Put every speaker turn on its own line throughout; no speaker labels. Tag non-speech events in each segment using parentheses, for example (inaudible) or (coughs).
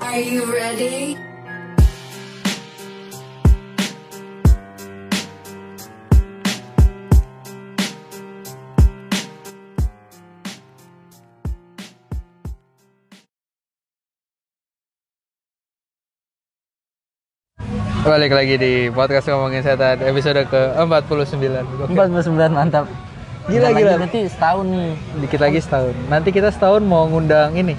Are you ready?
Balik lagi di podcast ngomongin setan episode ke-49. Oke.
49 mantap.
Gila,
Bentar lagi
gila.
Berarti setahun nih.
Dikit lagi setahun. Nanti kita setahun mau ngundang ini.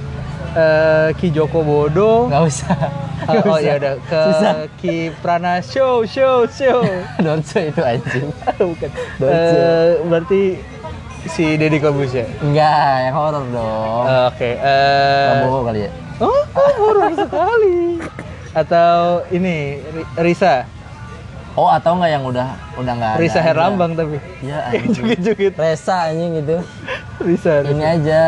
eh Ki Joko Bodo.
Gak usah.
Oh, (laughs) oh,
Nggak usah.
ya
(laughs)
udah ke
Susah.
Ki Prana Show Show
(laughs)
Show.
Dorce itu anjing.
Bukan.
Dorce.
Eh, berarti si Deddy Corbuzier.
Enggak, yang horor dong.
Eh, Oke. eh,
Prabowo kali ya.
oh, oh, horor sekali. Atau ini Ri- Risa.
Oh, atau enggak yang udah udah enggak ada.
Risa
aja.
Herlambang gitu. tapi. (laughs)
Iya, anjing.
Joget-joget
Resa anjing itu.
Risa.
Ini aja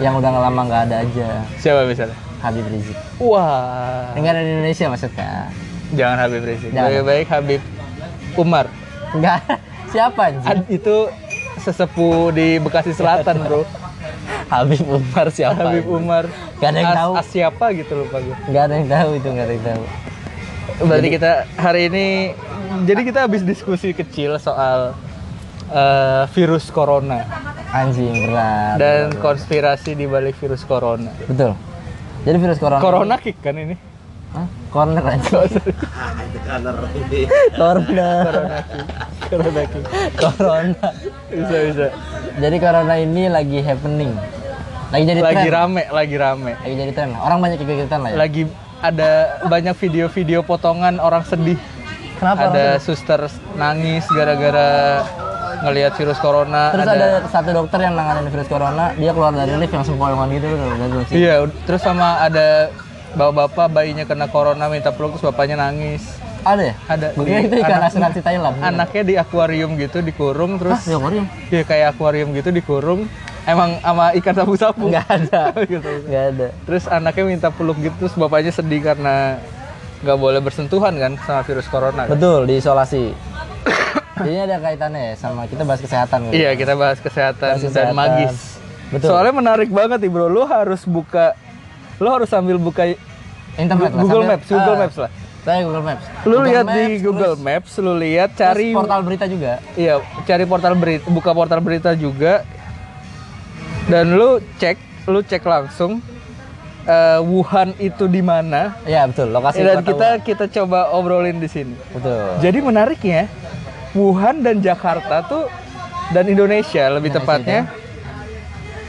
yang udah lama enggak ada aja.
Siapa misalnya?
Habib Rizik.
Wah.
Enggak ada di Indonesia maksudnya.
Jangan Habib Rizik.
Jangan.
Lebih baik Habib Umar.
Enggak. (laughs) Siapa anjing?
Ad- itu sesepuh di Bekasi Selatan, Bro.
Habib Umar siapa?
Habib
anjing?
Umar.
Gak ada yang
As-
tahu.
As siapa gitu lupa gue.
Enggak ada yang tahu itu, enggak ada yang tahu.
Berarti kita hari ini jadi kita habis diskusi kecil soal eh, virus corona
Anjing berat.
dan konspirasi di balik virus corona.
Betul. Jadi virus corona.
Corona kick kan ini?
Hah? Corner aja. (laughs) corona.
Corona kick.
corona.
Bisa bisa.
Jadi corona ini lagi happening. Lagi jadi
Lagi
tren.
rame, lagi rame.
Lagi jadi tren. Orang banyak ikut-ikutan lah ya.
Lagi ada banyak video-video potongan orang sedih
Kenapa?
ada
orang-
suster nangis gara-gara ngelihat virus corona
Terus ada... satu dokter yang nanganin virus corona, dia keluar dari lift yang sempoyongan gitu loh, udah dulu sih.
iya ud- terus sama ada bapak-bapak bayinya kena corona minta peluk terus bapaknya nangis
Ada ya?
Ada.
Gua kira itu ikan
Anak-
asuransi Thailand.
anaknya di akuarium gitu dikurung
Hah,
terus
ya Korea?
ya kayak akuarium gitu dikurung emang sama ikan sapu-sapu
Enggak (laughs) ada.
Gitu.
Enggak ada.
terus anaknya minta peluk gitu terus bapaknya sedih karena nggak boleh bersentuhan kan sama virus corona kan?
Betul,
(coughs)
diisolasi. Jadi ada kaitannya ya sama kita bahas kesehatan gitu.
Iya, kita bahas kesehatan,
Bahas kesehatan.
dan magis.
Betul.
Soalnya menarik banget, Bro. Lu harus buka lu harus sambil buka
Internet lah,
Google
sambil-
Maps, Google
Ah,
Maps lah.
Saya Google Maps.
Lu
Google
lihat di
Maps,
Google
terus-
Maps, lu lihat
terus
cari
portal berita juga.
iya, cari portal berita, buka portal berita juga. Dan lu cek, lu cek langsung eh, Wuhan itu di mana.
Iya, betul. Lokasi
Dan
kota
kita
Wuhan.
kita coba obrolin di sini.
betul.
Jadi menariknya Wuhan dan Jakarta tuh dan Indonesia lebih
Indonesia, kan?
tepatnya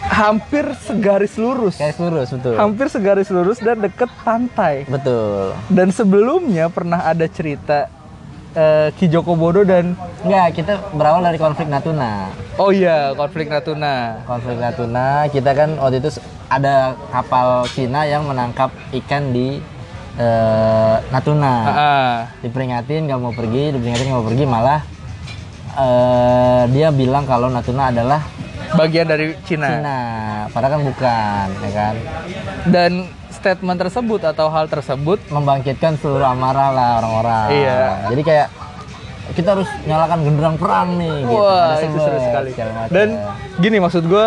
hampir segaris lurus.
Garis lurus, betul.
Hampir segaris lurus dan deket pantai.
Betul.
Dan sebelumnya pernah ada cerita eh, Ki Joko Bodo dan
Enggak, kita berawal dari konflik Natuna.
oh iya konflik
Nah.
Natuna.
Konflik Natuna, kita kan waktu itu s- ada kapal Cina yang menangkap ikan di eh,
Ah,
Natuna.
ah.
Diperingatin nggak mau pergi, diperingatin nggak mau pergi, malah eh, dia bilang kalau Natuna adalah
bagian dari Cina.
Cina. Padahal kan bukan, ya kan?
Dan statement tersebut atau hal tersebut
membangkitkan seluruh amarah lah orang-orang.
Iya.
Jadi kayak kita harus nyalakan genderang perang nih. gitu.
Wah,
Ada
itu
semangat,
seru sekali.
segala macam.
Dan gini maksud gue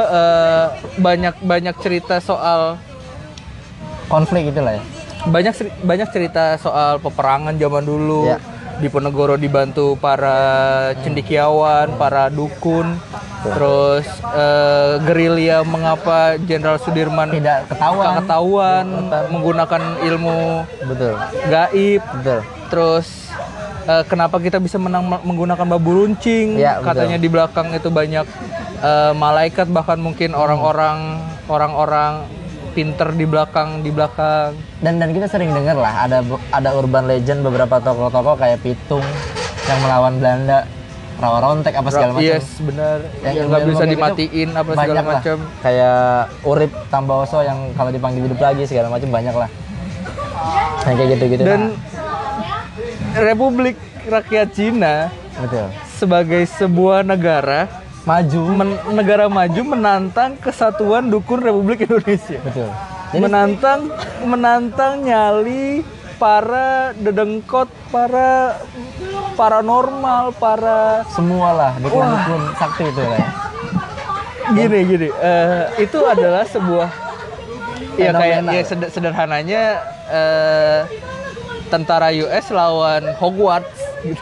banyak banyak cerita soal
konflik itulah ya.
banyak seri- banyak cerita soal peperangan zaman dulu
Iya.
di Ponegoro dibantu para cendikiawan, para dukun, terus eh, gerilya mengapa Jenderal Sudirman
Tidak ketahuan.
nggak ketahuan menggunakan ilmu
Betul.
gaib,
Betul.
terus eh, kenapa kita bisa menang menggunakan babu runcing?
Iya, betul.
Katanya di belakang itu banyak eh, malaikat bahkan mungkin
Hmm.
orang-orang orang-orang pinter di belakang di belakang.
Dan dan kita sering dengar lah ada ada urban legend beberapa tokoh-tokoh kayak Pitung yang melawan Belanda, Rawa Rontek apa segala macam.
Yes, benar. Yang
Yang
nggak
ilmu-ilmu
bisa
kayak gitu
dimatiin apa segala
banyak lah. Iya.
macam.
Kayak Urip Tambawoso yang kalau dipanggil hidup lagi segala macam banyak lah. Yang kayak gitu-gitu.
Dan
Nah,
Republik Rakyat Cina
betul.
sebagai sebuah negara
Maju.
men- negara maju menantang kesatuan dukun Republik Indonesia.
Betul.
menantang menantang nyali para dedengkot, para paranormal, para
semualah dukun-dukun sakti itu lah ya.
gini gini eh, itu adalah sebuah ya kayak
Fenomena.
ya seder- sederhananya eh, tentara US lawan Hogwarts gitu.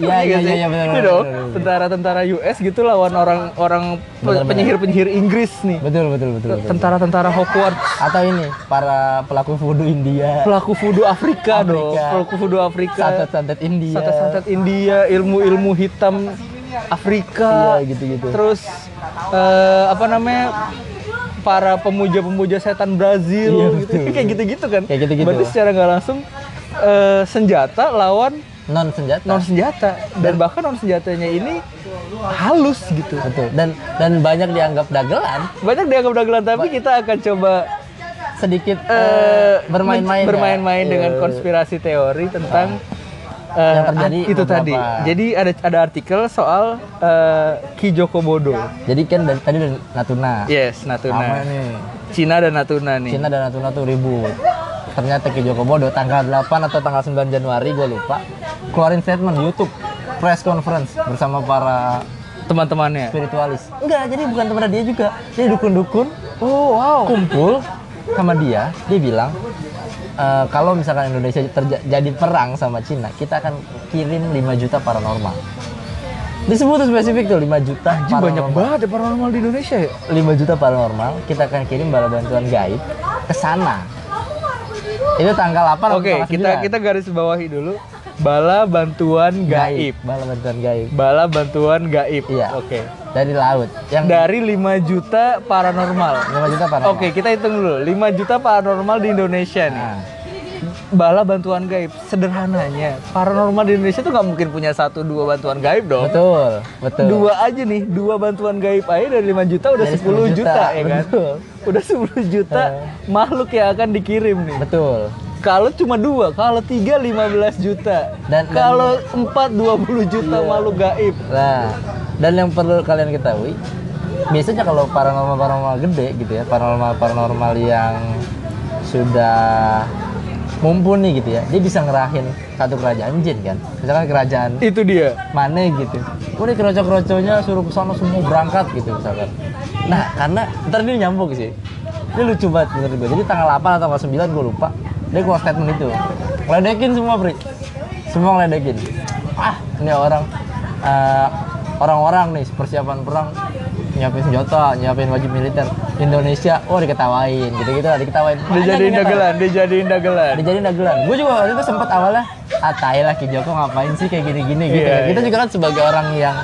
Iya,
Ngerti
iya,
gak sih?
iya, benar,
You know,
benar, benar, benar.
Tentara-tentara US gitu lawan orang-orang pe-
Benar, benar.
penyihir-penyihir Inggris nih.
betul betul betul, betul.
Tentara-tentara Hogwarts
atau ini para pelaku voodoo
(laughs)
India
pelaku voodoo Afrika,
Afrika.
dong pelaku voodoo Afrika
santet-santet India
santet-santet India ilmu-ilmu hitam Afrika
Iya, gitu-gitu.
terus eh, apa namanya para pemuja-pemuja setan Brazil
Iya,
gitu.
betul.
kayak gitu-gitu kan
Kayak gitu-gitu.
berarti secara nggak langsung eh, senjata lawan
non senjata
non senjata dan bahkan non senjatanya ini halus gitu
betul dan dan banyak dianggap dagelan
banyak dianggap dagelan tapi kita akan coba
sedikit
eh,
eh,
men-
bermain-main ya.
bermain-main
Iya.
dengan konspirasi teori tentang eh,
Yang terjadi
ah, itu
beberapa.
tadi. Jadi ada ada artikel soal eh, Ki Joko Bodo.
jadi kan dari tadi dari Natuna
Yes,
sama
Iya, Natuna.
nih
Cina dan Natuna nih.
Cina dan Natuna tuh ribut ternyata Ki Joko Bodo tanggal 8 atau tanggal 9 Januari gue lupa keluarin statement YouTube press conference bersama para
Teman-temannya.
spiritualis enggak jadi bukan teman dia juga dia dukun-dukun
Oh, wow.
kumpul sama dia dia bilang "Eh, kalau misalkan Indonesia terjadi perang sama Cina kita akan kirim 5 juta paranormal disebut tuh spesifik tuh 5 juta
Anjing banyak
paranormal.
banget ya paranormal di Indonesia ya.
5 juta paranormal kita akan kirim bala bantuan gaib ke sana itu tanggal 8 atau
Oke,
tanggal
kita
9?
kita garis bawahi dulu. Bala bantuan gaib.
bala bantuan gaib
Bala bantuan gaib.
Iya.
Oke.
dari laut yang
Dari 5 juta paranormal.
5 juta paranormal
Oke, kita hitung dulu. 5 juta paranormal di Indonesia nih.
Nah,
Bala bantuan gaib. Sederhananya, paranormal di Indonesia tuh nggak mungkin punya satu dua bantuan gaib dong.
betul betul
Dua aja nih, dua bantuan gaib aja dari 5 juta udah 10
Dari
juta,
10 juta,
ya kan?
betul.
Udah 10 juta makhluk yang akan dikirim nih.
betul
Kalau cuma dua, kalau tiga 15 juta.
Dan- Iya. dan-
kalau empat 20 juta makhluk gaib.
Nah, dan yang perlu kalian ketahui, biasanya kalau paranormal paranormal gede gitu ya, paranormal paranormal yang sudah mumpuni gitu ya, dia bisa ngerahin satu kerajaan jin kan, misalkan kerajaan
Itu dia.
mana gitu, udah keroco-keroconya suruh ke sana semua berangkat gitu misalkan. Nah, karena ntar dia nyambung sih, dia lucu banget menurut gue. Jadi tanggal 8 atau tanggal 9 gue lupa, dia keluar statement itu, ngeledekin semua pri, semua ngeledekin. Ah, ini orang eh, orang-orang nih persiapan perang nyiapin senjata, nyiapin wajib militer Indonesia, oh diketawain, gitu-gitu lah diketawain. Banyak
Dijadiin
yang ketawain
dagelan, dijadiin dagelan.
dijadiin dagelan gue juga waktu itu sempet awalnya ah tai lah Ki Joko ngapain sih kayak gini-gini gitu
Iya,
kan. kita
iya.
juga kan sebagai orang yang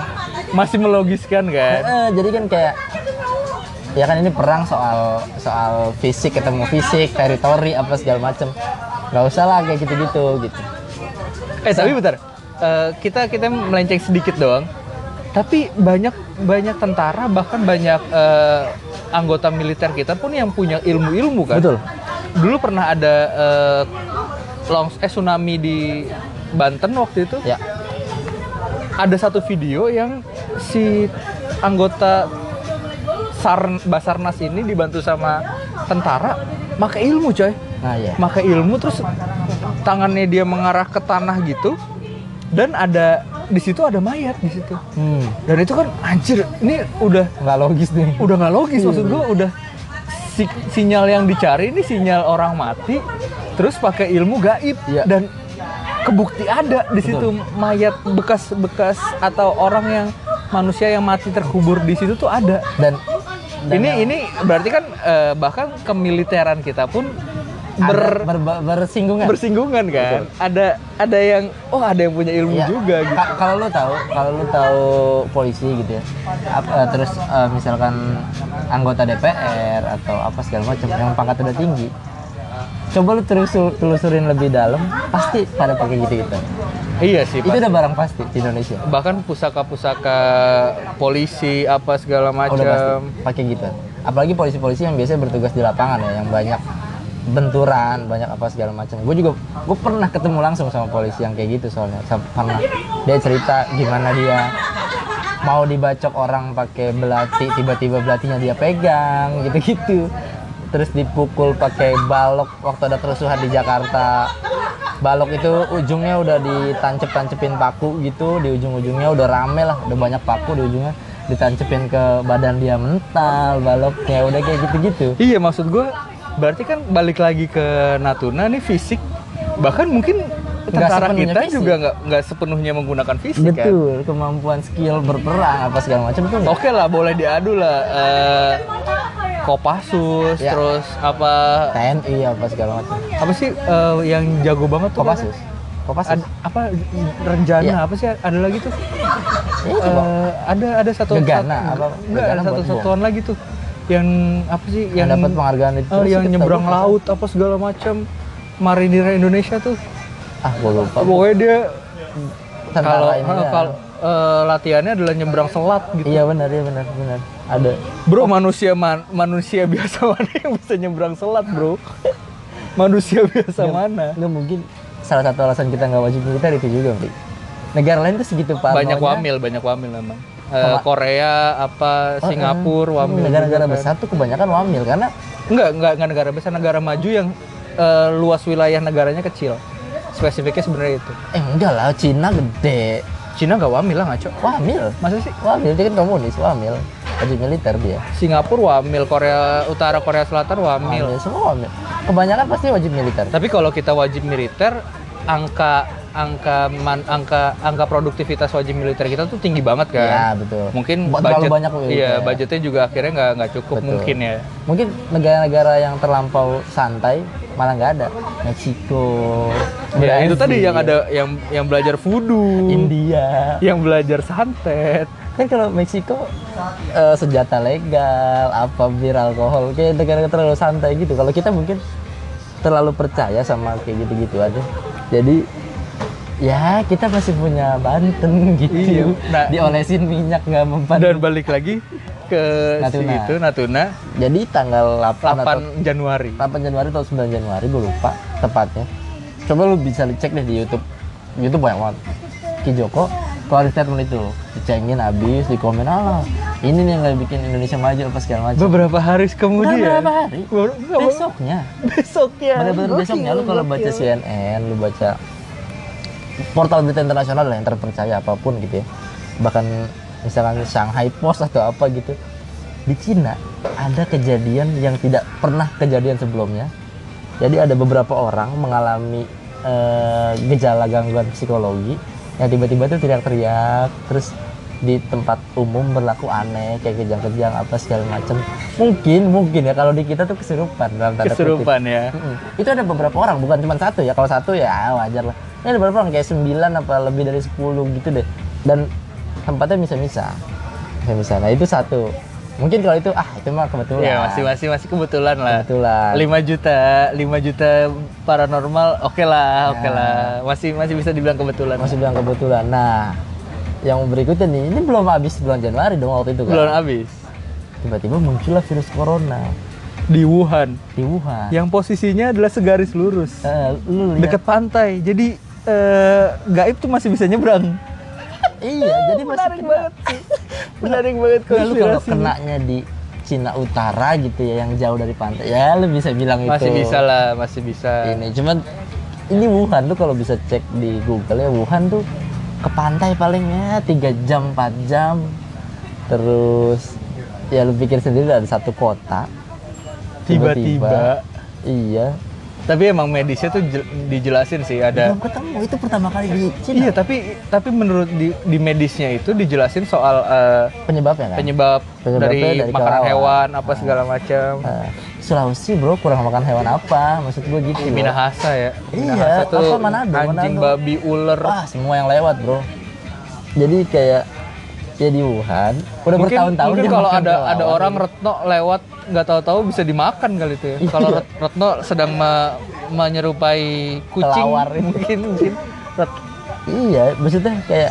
Masih melogiskan kan?
eh, jadi kan kayak ya kan ini perang soal soal fisik ketemu fisik teritori apa segala macem nggak usah lah kayak gitu-gitu gitu
Eh tapi bentar, Eh, kita kita melenceng sedikit doang. Tapi banyak banyak tentara bahkan banyak eh, anggota militer kita pun yang punya ilmu-ilmu kan.
Betul.
Dulu pernah ada eh, longs eh tsunami di Banten waktu itu.
ya
Ada satu video yang si anggota Sar Basarnas ini dibantu sama tentara pakai ilmu coy
nah ya
maka ilmu terus tangannya dia mengarah ke tanah gitu dan ada di situ ada mayat di situ
hmm
dan itu kan anjir ini udah
nggak logis nih
udah nggak logis
Iya.
maksud gua udah si- sinyal yang dicari ini sinyal orang mati terus pakai ilmu gaib
Iya.
dan kebukti ada di situ mayat bekas-bekas atau orang yang manusia yang mati terkubur di situ tuh ada
dan, dan
ini
yang
ini berarti kan eh, bahkan kemiliteran kita pun
ada
ber
berba- bersinggungan
bersinggungan kan ada ada yang oh ada yang punya ilmu
Iya.
juga gitu
Ka- Kalau lu tahu, kalau lu tahu polisi gitu ya, ap- eh, terus eh, misalkan anggota DPR atau apa segala macam yang pangkat udah tinggi, coba lu telusur- telusurin lebih dalam, pasti pada pakai gitu gitu.
iya sih
Itu
Pak.
udah barang pasti di Indonesia.
bahkan pusaka-pusaka polisi apa segala
udah pasti
macam
pakai gitu. Apalagi polisi-polisi yang biasanya bertugas di lapangan ya, yang banyak benturan, banyak apa segala macam. Gue juga, gue pernah ketemu langsung sama polisi yang kayak gitu soalnya. Sam- Pernah dia cerita gimana dia mau dibacok orang pakai belati, tiba-tiba belatinya dia pegang, gitu-gitu. Terus dipukul pakai balok waktu ada kerusuhan di Jakarta. Balok itu ujungnya udah ditancep-tancepin paku gitu, di ujung-ujungnya udah rame lah, udah banyak paku di ujungnya ditancepin ke badan dia mental baloknya udah kayak gitu-gitu
iya maksud gue Berarti kan balik lagi ke Natuna nih fisik bahkan mungkin tentara
sepenuhnya
kita
fisik.
juga nggak nggak sepenuhnya menggunakan fisik kan.
Betul, kemampuan skill berperang apa segala macam tuh.
Oke lah, boleh diadu lah. eh, Kopassus,
Ya.
terus apa
TNI apa segala macam.
apa sih eh, yang jago banget tuh?
Kopassus.
kan?
Kopassus.
Ad- apa Renjana
Iya.
apa sih ada lagi tuh?
Ya, coba.
Eh, ada ada satu
Gegana,
satu-
apa?
enggak, ada
Gegana buat
satu satuan lagi tuh yang apa sih
Yang
yang
dapat penghargaan itu
eh,
sih,
yang
kita
nyebrang
tahu.
laut apa segala macam marinir Indonesia tuh
Ah, gua lupa.
pokoknya dia
Tentara
kalau eh,
ini. ya.
kalau eh, latihannya adalah nyebrang selat gitu
Iya benar, iya benar, benar. Ada.
bro manusia man- manusia (laughs) biasa mana yang bisa nyebrang selat bro (laughs) manusia biasa
Iya.
mana
Nggak mungkin salah satu alasan kita nggak wajib militer itu juga, Bri. Negara lain tuh segitu parnonya.
banyak wamil banyak wamil memang Eh, Korea apa Singapura wamil
Oh, eh,
juga
Negara-negara
kan.
besar tuh kebanyakan wamil karena
Enggak, enggak, enggak negara besar, negara maju yang eh, luas wilayah negaranya kecil. Spesifiknya sebenarnya itu.
eh enggak lah Cina gede.
Cina nggak wamil lah ngaco.
Wamil.
Masa sih?
Wamil dia kan komunis, wamil. Wajib militer dia.
Singapura wamil, Korea Utara, Korea Selatan wamil.
Wamil, semua wamil. Kebanyakan pasti wajib militer.
Tapi kalau kita wajib militer, angka angka man- angka angka produktivitas wajib militer kita tuh tinggi banget kan.
Ya, betul.
Mungkin
Ba- terlalu
budget,
banyak militer. ya.
iya, budgetnya juga akhirnya nggak nggak cukup
Betul.
mungkin ya.
Mungkin negara-negara yang terlampau santai malah nggak ada. Meksiko,
Ya, itu
Brazil,
tadi yang ada yang yang belajar voodoo,
Iya, India.
yang belajar santet.
Kan kalau Meksiko eh, senjata legal, apa bir alkohol, kayak negara terlalu santai gitu. Kalau kita mungkin terlalu percaya sama kayak gitu-gitu aja. Jadi ya kita masih punya Banten (laughs)
Iya,
gitu.
nah-
Diolesin minyak nggak mempan.
dan balik lagi ke si
Natuna.
itu Natuna
Jadi tanggal 8, atau
8 Januari.
8 Januari atau 9 Januari gue lupa tepatnya coba lu bisa cek deh di YouTube YouTube banyak banget Ki Joko keluarin statement itu dicengin habis di komen alah ini nih yang nggak bikin Indonesia maju apa segala macam
Beberapa hari kemudian.
berapa hari
Baru- nggak, baru-
besoknya
Besoknya.
bener-bener
Gokil,
besoknya lu kalau baca
gokil.
CNN lu baca portal berita internasional lah yang terpercaya apapun gitu ya bahkan misalkan Shanghai Post atau apa gitu di Cina ada kejadian yang tidak pernah kejadian sebelumnya jadi ada beberapa orang mengalami eh, gejala gangguan psikologi yang tiba-tiba tuh teriak-teriak terus di tempat umum berlaku aneh kayak kejang-kejang apa segala macem mungkin mungkin ya kalau di kita tuh kesurupan dalam tanda kutip.
kesurupan ya.
Mm-mm. Itu ada beberapa orang, bukan cuma satu ya. Kalau satu ya wajar lah. Ini ada beberapa orang kayak 9 apa lebih dari 10 gitu deh. Dan tempatnya bisa-bisa. Bisa-bisa. Nah, itu satu. Mungkin kalau itu ah itu mah kebetulan.
Ya masih masih masih kebetulan lah.
Kebetulan.
5 juta, 5 juta paranormal, oke lah, oke lah. Masih masih bisa dibilang kebetulan.
Ya. Masih bilang kebetulan. Nah, yang berikutnya nih, ini belum habis bulan Januari dong waktu itu kan.
Belum habis.
Tiba-tiba muncullah virus corona
Di Wuhan,
di Wuhan.
yang posisinya adalah segaris lurus,
Eh, lu lihat
dekat pantai. Jadi eh, gaib tuh masih bisa nyebrang.
Iya, jadi masih
Menarik
kena.
banget sih. Menarik banget
Nah, lu kalau
konspirasi.
kenanya di Cina Utara gitu ya, yang jauh dari pantai, ya lu bisa bilang itu.
Masih bisa lah, masih bisa.
ini cuman ini Wuhan tuh kalau bisa cek di Google ya Wuhan tuh ke pantai palingnya tiga jam 4 jam terus ya lu pikir sendiri ada satu kota
Tiba-tiba.
iya
Tapi emang medisnya tuh jel- dijelasin sih ada.
belum ketemu itu pertama kali di Cina
Iya, tapi tapi menurut di, di medisnya itu dijelasin soal eh,
penyebabnya kan
penyebab
Penyebabnya
dari,
dari
makanan
kelelawar.
hewan apa segala macam.
Eh, Sulawesi bro kurang makan hewan apa maksud gua gitu bro.
Minahasa ya.
Iya,
Minahasa tuh
apa Manado,
anjing,
Manado.
babi, ular.
wah semua yang lewat bro jadi kayak ya di Wuhan udah
mungkin
bertahun-tahun
mungkin
dia
kalau
makan
ada ada
kelelawar.
orang retno lewat nggak tahu-tahu bisa dimakan kali itu ya.
Iya.
Kalau Ret- retno sedang me- menyerupai kucing
Kelawar ini.
mungkin
(laughs)
mungkin Ret-
Iya, maksudnya kayak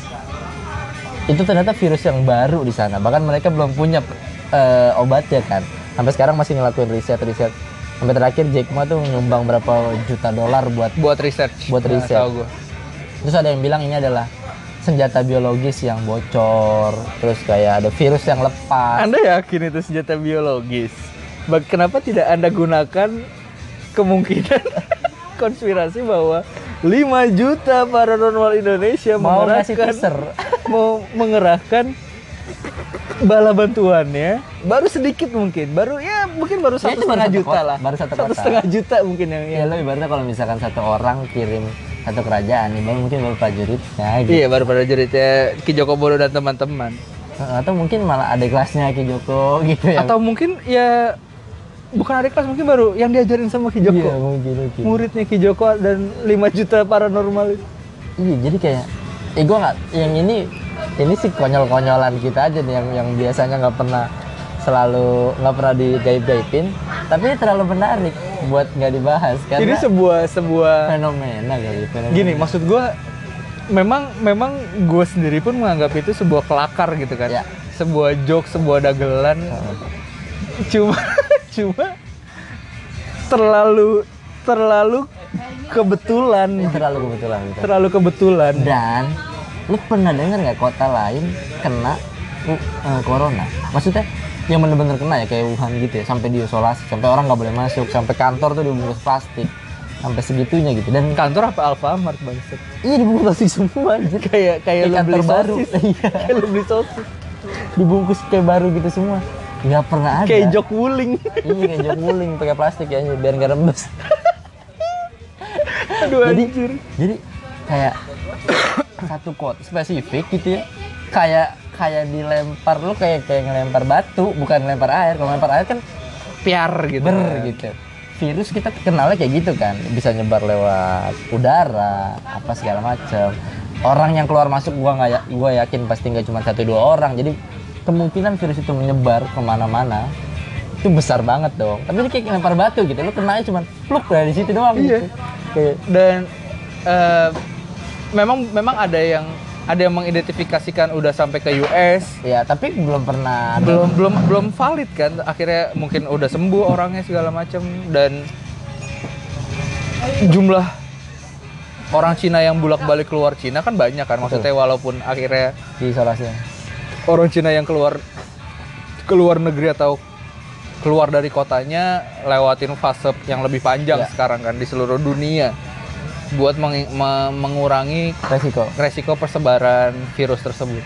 itu ternyata virus yang baru di sana. Bahkan mereka belum punya eh, obatnya kan. Sampai sekarang masih ngelakuin riset-riset. Sampai terakhir Jack Ma tuh nyumbang berapa juta dolar buat
buat research.
Buat
Nah,
riset.
tahu gua.
terus ada yang bilang ini adalah senjata biologis yang bocor. Terus kayak ada virus yang lepas.
Anda yakin itu senjata biologis? Ba- Kenapa tidak Anda gunakan kemungkinan (laughs) konspirasi bahwa 5 juta paranormal Indonesia
Mau ngasih
mengerahkan
teaser.
(laughs) mau mengerahkan bala bantuannya baru sedikit mungkin baru ya mungkin baru satu
Kayaknya baru
setengah
satu
juta
kota-
lah.
baru satu kota.
setengah juta mungkin yang
Ya lo ibaratnya kalau misalkan satu orang kirim satu kerajaan, nih baru mungkin baru prajuritnya gitu.
Iya baru pada juritnya Ki Joko Bodo dan teman-teman.
Atau mungkin malah ada kelasnya Ki Joko gitu ya.
Atau mungkin ya bukan adik kelas mungkin baru yang diajarin sama Ki
Iya,
Joko.
mungkin, mungkin.
Muridnya Ki Joko dan 5 juta paranormal. itu.
Iya, jadi kayak eh gua nggak yang ini ini sih konyol-konyolan kita aja nih yang yang biasanya nggak pernah selalu nggak pernah digaib-gaibin, tapi ini terlalu menarik buat nggak dibahas
Ini
karena
sebuah sebuah
fenomena kali fenomena.
gini maksud gua memang memang gue sendiri pun menganggap itu sebuah kelakar gitu kan.
Ya.
Sebuah joke, sebuah dagelan. Cuma (laughs) cuma terlalu terlalu kebetulan
Ini terlalu kebetulan gitu.
terlalu kebetulan
Dan lu pernah dengar nggak kota lain kena uh, uh, corona? Maksudnya yang bener-bener kena ya kayak Wuhan gitu ya sampai diisolasi sampai orang nggak boleh masuk sampai kantor tuh dibungkus plastik sampai segitunya gitu dan
kantor apa Alfamart bangset
iya dibungkus plastik semua anjir.
kayak kayak
Kayak
lu
kantor
beli
baru.
sosis
Iya.
kayak lu beli sosis
dibungkus kayak baru gitu semua nggak pernah ada
kayak jok wuling
iya kayak jok guling pakai plastik ya anjir, biar nggak rembes
(laughs) aduh
Jadi-
anjir
jadi kayak satu kota spesifik gitu ya kayak kayak dilempar lu kayak kayak ngelempar batu bukan ngelempar air kalau ngelempar air kan
piar gitu
ber gitu virus kita kenalnya kayak gitu kan bisa nyebar lewat udara apa segala macam orang yang keluar masuk gua nggak ya- gua yakin pasti nggak cuma satu dua orang jadi kemungkinan virus itu menyebar kemana-mana itu besar banget dong tapi ini kayak lempar batu gitu lu kenanya cuma pluk dari situ doang
Iya.
gitu kayak
dan eh, memang memang ada yang ada yang mengidentifikasikan udah sampai ke US
ya tapi belum pernah ada-
belum belum belum valid kan akhirnya mungkin udah sembuh orangnya segala macam dan jumlah orang Cina yang bolak-balik keluar Cina kan banyak kan maksudnya walaupun akhirnya
di isolasi
orang Cina yang keluar keluar negeri atau keluar dari kotanya lewatin fase yang lebih panjang
Ya.
sekarang kan di seluruh dunia buat mengi- me- mengurangi
resiko
resiko persebaran virus tersebut.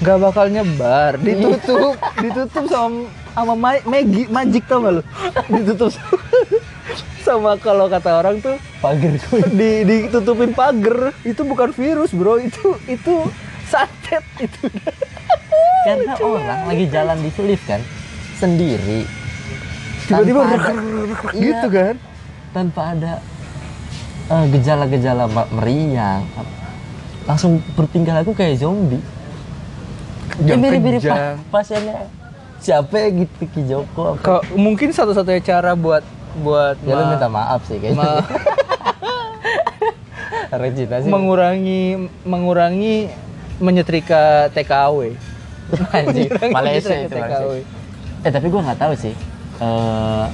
Gak bakal (laughs) nyebar, ditutup, ditutup sama sama ma- Maggi, magic tau gak lu? Ditutup sama, (laughs) sama kalau kata orang tuh
pagar
(laughs)
gue
di, ditutupin pagar itu bukan virus bro itu itu santet itu
karena orang lagi jalan di lift kan sendiri
tiba-tiba
Tanpa
rek-
ada-
rek- rek (laughs)
Iya.
gitu kan
tanpa ada eh, gejala-gejala ma- meriang langsung bertingkah laku kayak zombie
Jam
Ini mirip-mirip
kencang.
pa- pasiennya siapa ya gitu Ki Joko apa?
Kau- mungkin satu-satunya cara buat buat
ya lu
ma-
minta maaf sih kayaknya
ma-
(laughs) Regina sih
mengurangi mengurangi menyetrika TKW (laughs)
anjing
mengurangi
Malaysia
menyetrika
itu
TKW.
Malaysia. eh tapi gua nggak tahu sih eh,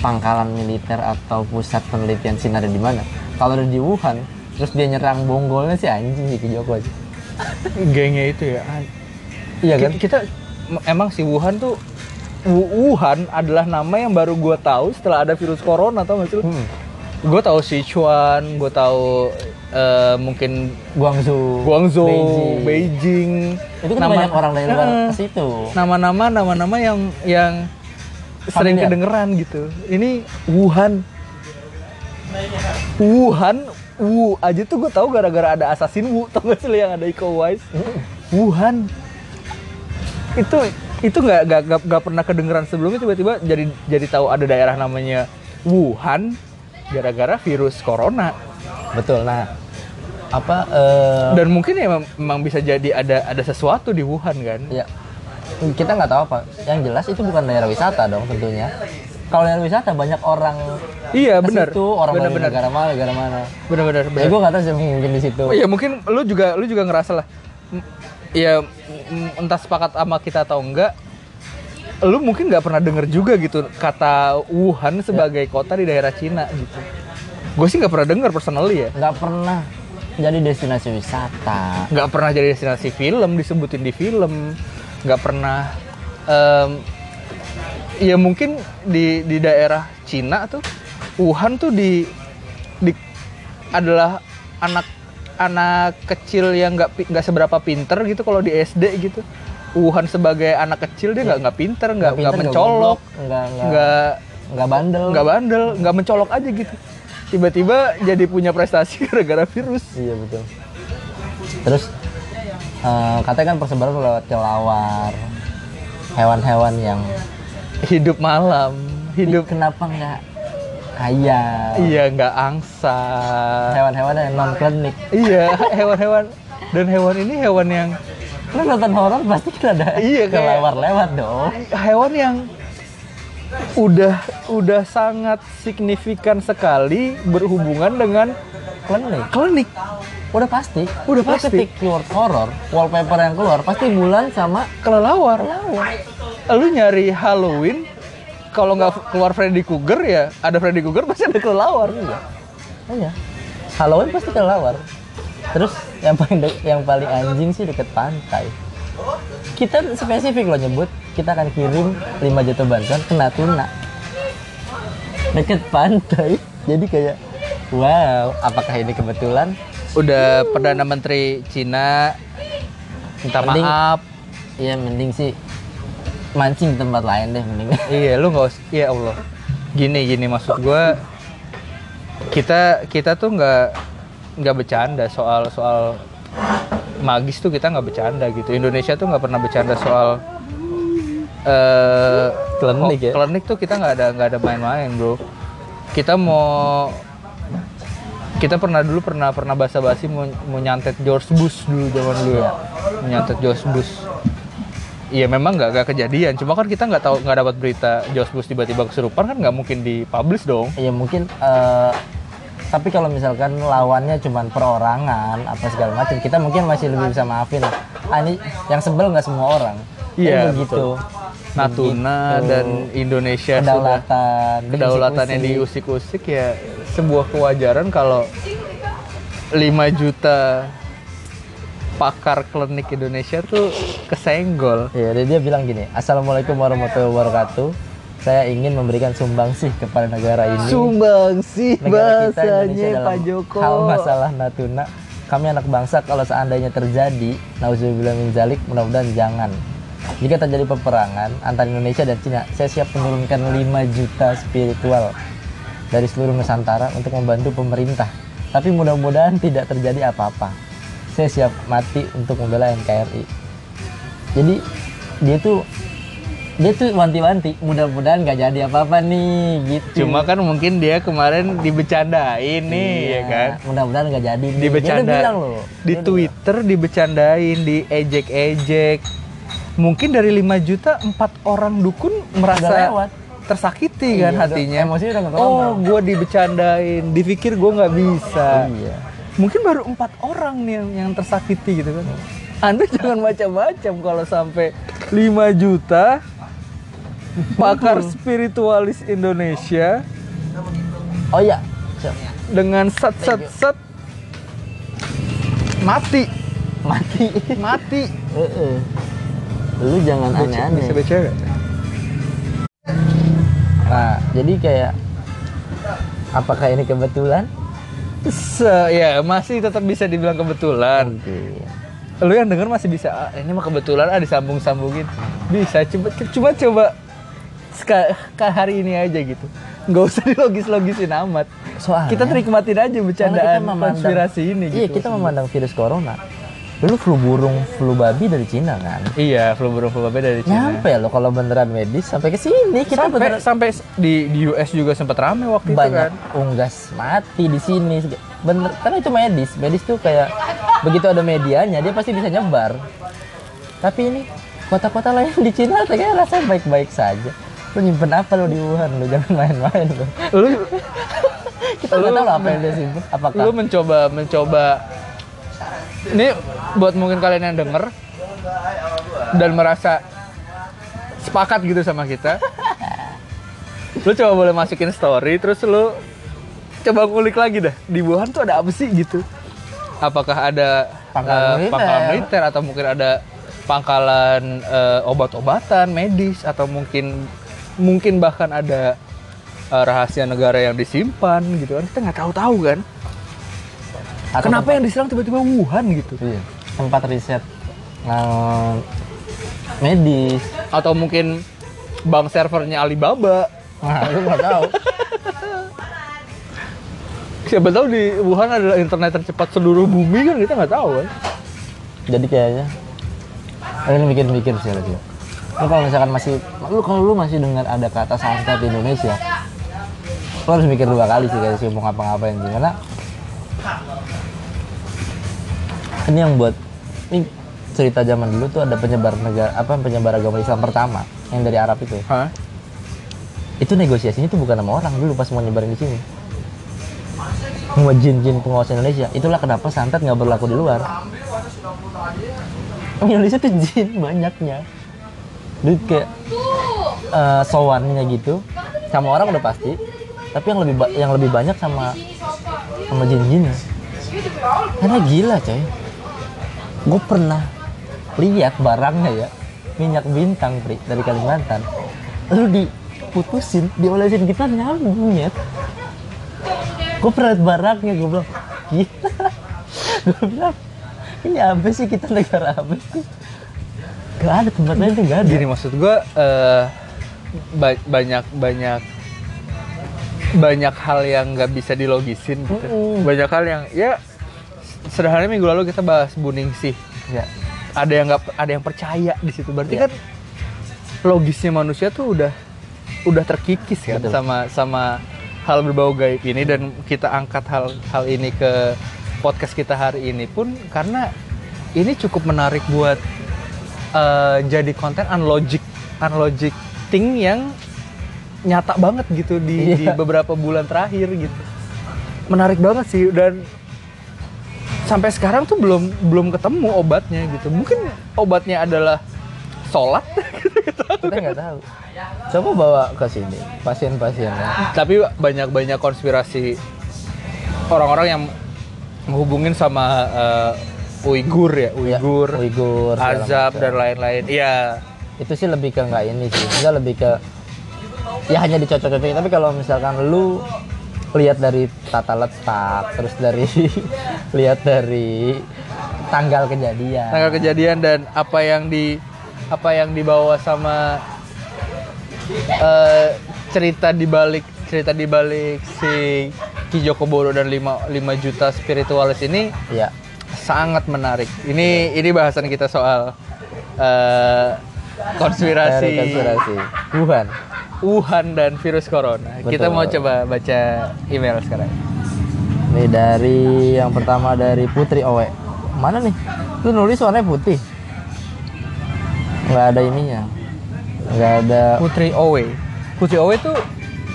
pangkalan militer atau pusat penelitian Cina ada di mana kalau ada di Wuhan terus dia nyerang bonggolnya sih anjing sih Ki Joko sih
gengnya itu ya
iya
Ki-
kan
kita em- emang si Wuhan tuh Wu- Wuhan adalah nama yang baru gua tahu setelah ada virus corona tau gak sih lu?
Hmm.
Gua tahu Sichuan, gua tahu eh, mungkin
Guangzhou,
Guangzhou,
Beijing.
Beijing.
Itu kan banyak orang dari luar ke situ.
Nama-nama nama-nama yang yang sering
Familiar.
kedengeran gitu. Ini Wuhan. Wuhan, Wu aja tuh gue tahu gara-gara ada Assassin Wu, (laughs) tau gak sih lo yang ada Iko Uwais? Wuhan. Itu itu nggak nggak nggak- nggak pernah kedengeran sebelumnya tiba-tiba jadi jadi tahu ada daerah namanya Wuhan gara-gara virus corona.
Betul. Nah, apa eh,
Dan mungkin ya mem- memang bisa jadi ada ada sesuatu di Wuhan kan.
ya kita nggak tahu apa. Yang jelas itu bukan daerah wisata dong tentunya. Kalau daerah wisata banyak orang
Iya
ke
benar.
situ, orang
benar
dari
benar.
negara mana, negara mana.
Benar benar.
Ya gue nggak tahu sih mungkin di situ.
Oh iya mungkin lu juga lu juga ngerasa lah. M- Ya m- entah sepakat sama kita atau enggak, lu mungkin nggak pernah denger juga gitu kata Wuhan sebagai kota di daerah Cina gitu. Gue sih nggak pernah denger personally ya.
Nggak pernah jadi destinasi wisata.
Nggak pernah jadi destinasi film disebutin di film. Nggak pernah. em, ya mungkin di di daerah Cina tuh Wuhan tuh di di adalah anak anak kecil yang nggak pi- nggak seberapa pinter gitu kalau di SD gitu Wuhan sebagai anak kecil dia nggak nggak pinter nggak nggak
pinter,
mencolok
goblok, nggak nggak
nggak
nggak bandel
nggak bandel nggak mencolok aja gitu tiba-tiba jadi punya prestasi (laughs) gara-gara virus
iya betul terus eh, katanya kan persebaran lewat kelawar hewan-hewan yang
hidup malam hidup
kenapa nggak ayam
iya nggak angsa
hewan-hewan yang non klinik
Iya, hewan-hewan dan hewan ini hewan yang
lu nonton horor pasti kan ada
Iya, kayak-
kelawar lewat dong
hewan yang udah udah sangat signifikan sekali berhubungan dengan
klinik
klinik.
udah pasti
Udah
Lu
pasti.
ketik keyword horor wallpaper yang keluar pasti bulan sama
kelelawar. Lu nyari Halloween kalau nggak keluar Freddy Krueger ya ada Freddy Krueger pasti ada kelelawar.
Oh iya. Halloween pasti kelawar. Terus yang paling de- yang paling anjing sih deket pantai. Kita spesifik loh nyebut, kita akan kirim 5 juta bantuan kena tuna. Deket pantai. (laughs) Jadi kayak wow, apakah ini kebetulan?
Udah perdana menteri Cina minta
Mending-
maaf.
Ya mending sih mancing di tempat lain deh mending. (laughs)
Iya, lu nggak usah. Ya Allah. Gini gini maksud gua kita kita tuh nggak nggak bercanda soal soal magis tuh kita nggak bercanda gitu. Indonesia tuh nggak pernah bercanda soal eh
Klinik ya?
Klinik tuh kita nggak ada nggak ada main-main, Bro. Kita mau kita pernah dulu pernah pernah basa-basi mau, mau nyantet George Bush dulu zaman dulu ya. Mau Nyantet George Bush. Iya memang nggak nggak kejadian. Cuma kan kita nggak tahu nggak dapat berita George Bush tiba-tiba kesurupan kan nggak mungkin dipublish dong.
Ya mungkin eh, tapi kalau misalkan lawannya cuman perorangan apa segala macam, kita mungkin masih lebih bisa maafin. lah. Ah, ini yang sebel nggak semua orang. gitu.
Iya,
Ini begitu.
Natuna
Begitu.
dan Indonesia sudah
kedaulatan,
kedaulatannya diusik-usik
diusik-usik.
ya sebuah kewajaran kalau 5 juta pakar klinik Indonesia tuh kesenggol.
Iya, dia, dia bilang gini, Assalamualaikum warahmatullahi wabarakatuh. Saya ingin memberikan sumbangsih kepada negara ini.
Sumbang sih
negara kita Indonesia dalam hal masalah Natuna. Kami anak bangsa kalau seandainya terjadi, nauzubillah min zalik, mudah-mudahan jangan. Jika terjadi peperangan antara Indonesia dan Cina, saya siap menurunkan 5 juta spiritual dari seluruh Nusantara untuk membantu pemerintah. Tapi mudah-mudahan tidak terjadi apa-apa. Saya siap mati untuk membela NKRI. Jadi dia tuh dia tuh wanti-wanti, mudah-mudahan gak jadi apa-apa nih gitu.
Cuma kan mungkin dia kemarin dibecandain nih
Iya.
ya kan.
Mudah-mudahan nggak jadi. nih. Dia udah
dibecanda
bilang
di
loh. Dia udah
Twitter dibecandain diejek-ejek mungkin dari 5 juta empat orang dukun merasa
lewat.
tersakiti kan
Iya, udah-
hatinya
emosinya udah nggak
oh
kekontrol.
gue dibecandain dipikir gue nggak bisa
bilang, Iya.
mungkin baru empat orang nih yang, yang tersakiti gitu kan anda (laughs) jangan macam-macam kalau sampai 5 juta
(laughs)
pakar spiritualis Indonesia
Oh iya. Siap.
dengan set set set mati
Mati. (laughs)
mati
Heeh. Lu jangan aneh-aneh.
bisa baca nggak?
Nah, jadi kayak apakah ini kebetulan?
Se- ya masih tetap bisa dibilang kebetulan
Oke.
lu yang denger masih bisa "Ah, ini mah kebetulan ah disambung sambungin bisa coba coba coba seka- ke hari ini aja gitu nggak usah dilogis logisin amat
Soalnya
kita nikmatin aja
karena
bercandaan konspirasi ini
Iya,
gitu
kita memandang virus corona. Dulu flu burung, flu babi dari Cina kan.
iya flu burung flu babi dari Cina
Nyampe loh kalau beneran medis sampai ke sini kita
sampai
beneran
sampai di, di US juga sempat rame waktu itu
banyak
kan
unggas mati di sini bener karena itu medis medis tuh kayak begitu ada medianya dia pasti bisa nyebar tapi ini kota-kota lain di Cina kayak rasanya baik-baik saja lu nyimpen apa lu di Wuhan lu jangan main-main lu
lu
kita nggak
Lu-
tahu lah apa yang dia simpen apakah
lu mencoba mencoba ini buat mungkin kalian yang denger dan merasa sepakat gitu sama
(laughs)
kita lu coba boleh masukin story terus lu coba ngulik lagi dah di Wuhan tuh ada apa sih gitu apakah ada
Pangkalan
eh,
militer.
pangkalan militer atau mungkin ada pangkalan eh, obat-obatan medis atau mungkin mungkin bahkan ada eh, rahasia negara yang disimpan gitu kan kita nggak tahu tahu kan
atau Iya.
kenapa
tempat-
yang diserang tiba-tiba Wuhan gitu
iya, tempat riset Nah, medis
atau mungkin bank servernya Alibaba
nah itu nggak tahu
siapa tahu di Wuhan adalah internet tercepat seluruh bumi kan kita nggak tahu kan
jadi kayaknya ini mikir-mikir sih lagi lu kalau misalkan masih lu kalau lu masih dengar ada kata santet di Indonesia lu harus mikir dua kali sih guys sih mau ngapa-ngapain sih karena ini yang buat ini cerita zaman dulu tuh ada penyebar negara apa penyebar agama Islam pertama yang dari Arab itu ya.
Hah?
itu negosiasinya tuh bukan sama orang dulu pas mau nyebarin di sini sama jin-jin penguasa Indonesia itulah kenapa santet nggak berlaku di luar Indonesia tuh jin banyaknya jadi kayak eh, sowannya gitu sama orang udah pasti tapi yang lebih ba- yang lebih banyak sama sama jin-jin karena gila coy gue pernah lihat barangnya ya minyak bintang Pri, dari Kalimantan lalu diputusin diolesin kita nyambung ya gue pernah lihat barangnya gue bilang gila (laughs) gue bilang ini apa sih kita negara apa sih gak ada tempat lain tuh gak ada
Nah, Gini maksud gua eh, ba- banyak banyak banyak hal yang nggak bisa dilogisin gitu.
Mm-mm.
Banyak hal yang ya sederhananya minggu lalu kita bahas Buning sih.
ya
Ada yang nggak ada yang percaya di situ. Berarti
Iya.
kan logisnya manusia tuh udah udah terkikis kan
Betul.
sama sama hal berbau gaib ini dan kita angkat hal hal ini ke podcast kita hari ini pun karena ini cukup menarik buat eh, jadi konten unlogic unlogic thing yang nyata banget gitu di, di
Iya.
beberapa bulan terakhir gitu menarik banget sih dan sampai sekarang tuh belum belum ketemu obatnya gitu mungkin obatnya adalah sholat
kita nggak tahu coba bawa ke sini ya. pasien-pasiennya
(laughs) tapi banyak-banyak konspirasi orang-orang yang menghubungin sama eh, Uighur ya
Ya,
Uighur,
Uighur segala
Azab
macam.
dan lain-lain ya
itu sih lebih ke nggak ini sih enggak lebih ke ya hanya dicocok-cocokin tapi kalau misalkan lu lihat dari tata letak terus dari (laughs) lihat dari tanggal kejadian
tanggal kejadian dan apa yang di apa yang dibawa sama eh, cerita di balik cerita di balik si Ki Joko Bodo dan 5 5 juta spiritualis ini
ya
sangat menarik. Ini ini bahasan kita soal eh, konspirasi,
dari konspirasi Wuhan
Wuhan dan virus corona.
Betul.
Kita mau coba baca email sekarang.
ini dari yang pertama dari Putri Owe mana nih lu nulis warnanya putih nggak ada ininya nggak ada
Putri Owe. Putri Owe itu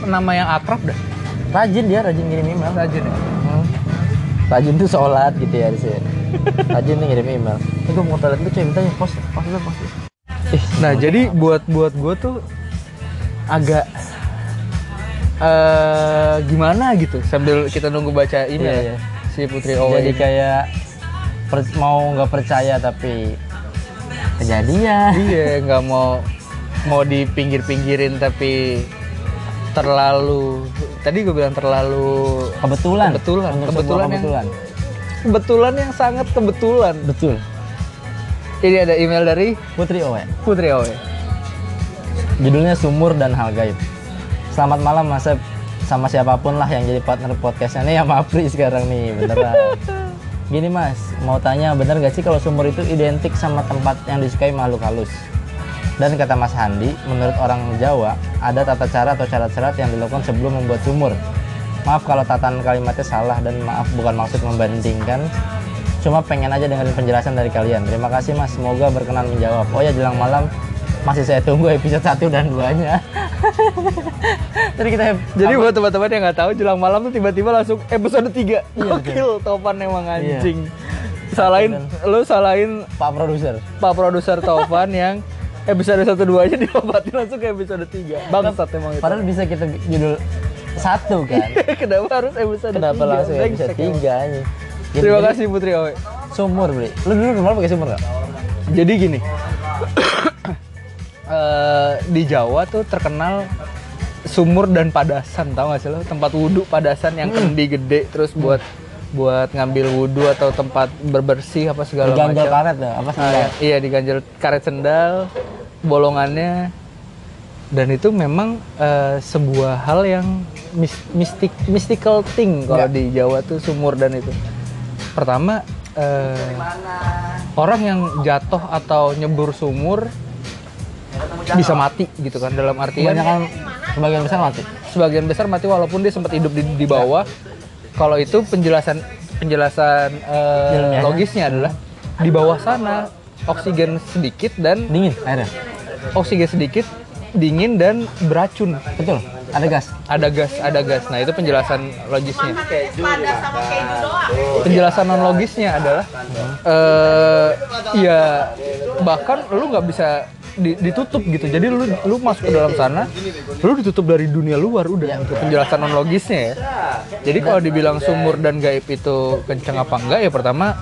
nama yang akrab dah.
rajin dia rajin ngirim email
Rajin ya.
Hmm. Rajin tuh sholat gitu ya di sini. Rajin tuh ngirim email. Eh, gue mau ke toilet tuh cewek mintanya pos, pos dulu pos. dulu." Ih,
Nah, jadi buat buat gue tuh agak eh gimana gitu sambil kita nunggu baca email
Iya, iya.
ya, si Putri Owe.
jadi
ini.
kayak per- mau nggak percaya tapi kejadian.
iya nggak mau mau di pinggir pinggirin tapi terlalu tadi gue bilang terlalu
Kebetulan.
Kebetulan. Kebetulan
Untuk sebuah
yang-
kebetulan. ya.
kebetulan yang sangat kebetulan
Betul.
ini ada email dari
Putri Owe.
Putri Owe
Judulnya Sumur dan Hal Gaib. Selamat malam Mas Sep. Sama siapapun lah yang jadi partner podcastnya nih sama Apri sekarang nih, beneran. Gini Mas, mau tanya bener gak sih kalau sumur itu identik sama tempat yang disukai makhluk halus? Dan kata Mas Handi, menurut orang Jawa, ada tata cara atau syarat-syarat yang dilakukan sebelum membuat sumur. Maaf kalau tataan kalimatnya salah dan maaf bukan maksud membandingkan. Cuma pengen aja dengerin penjelasan dari kalian. Terima kasih Mas, semoga berkenan menjawab. Oh ya, jelang malam masih saya tunggu episode 1 dan (laughs) 2-nya. Jadi kita
jadi buat teman-teman yang nggak tahu jelang malam tuh tiba-tiba langsung episode 3 gokil Topan emang
Iya.
anjing salahin lu salahin
Pak produser.
Pak produser
(laughs)
Topan yang episode 1 2 aja diobatin langsung ke episode 3 bangsat emang itu
Padahal bisa kita bi- judul satu kan.
(laughs) kenapa harus episode
Kenapa
tiga?
langsung ya, episode
Brengsek emang.
tiga ini?
terima kasih Putri Owe
Sumur, Bri. Lu dulu normal pakai sumur nggak?
Jadi gini, (coughs) eh, di Jawa tuh terkenal sumur dan padasan, tau gak sih lo? Tempat wudhu padasan yang kendi gede, terus buat buat ngambil wudhu atau tempat berbersih apa segala
Diganjal
macam.
karet tuh, apa sih?
Ah, ya. iya diganjel iya. karet sendal. bolongannya dan itu memang eh, sebuah hal yang mis- mistik mystical thing kalau
Ya.
di Jawa tuh sumur dan itu pertama eh, orang yang jatuh atau nyebur sumur bisa mati gitu kan dalam artian
kebanyakan sebagian besar mati
sebagian besar mati walaupun dia sempat hidup di, di bawah. Kalau itu penjelasan penjelasan eh,
Ilmiahnya.
logisnya adalah di bawah sana oksigen sedikit dan
dingin airnya
oksigen sedikit dingin dan beracun.
betul ada gas
Ada gas, ada gas. Nah, itu penjelasan logisnya.
pada sama keju doang.
Penjelasan non logisnya adalah eh ya bahkan lu nggak bisa di- ditutup gitu. Jadi lu lu masuk ke dalam sana, lu ditutup dari dunia luar udah. Itu penjelasan non logisnya ya. Jadi kalau dibilang sumur dan gaib itu kenceng apa enggak ya pertama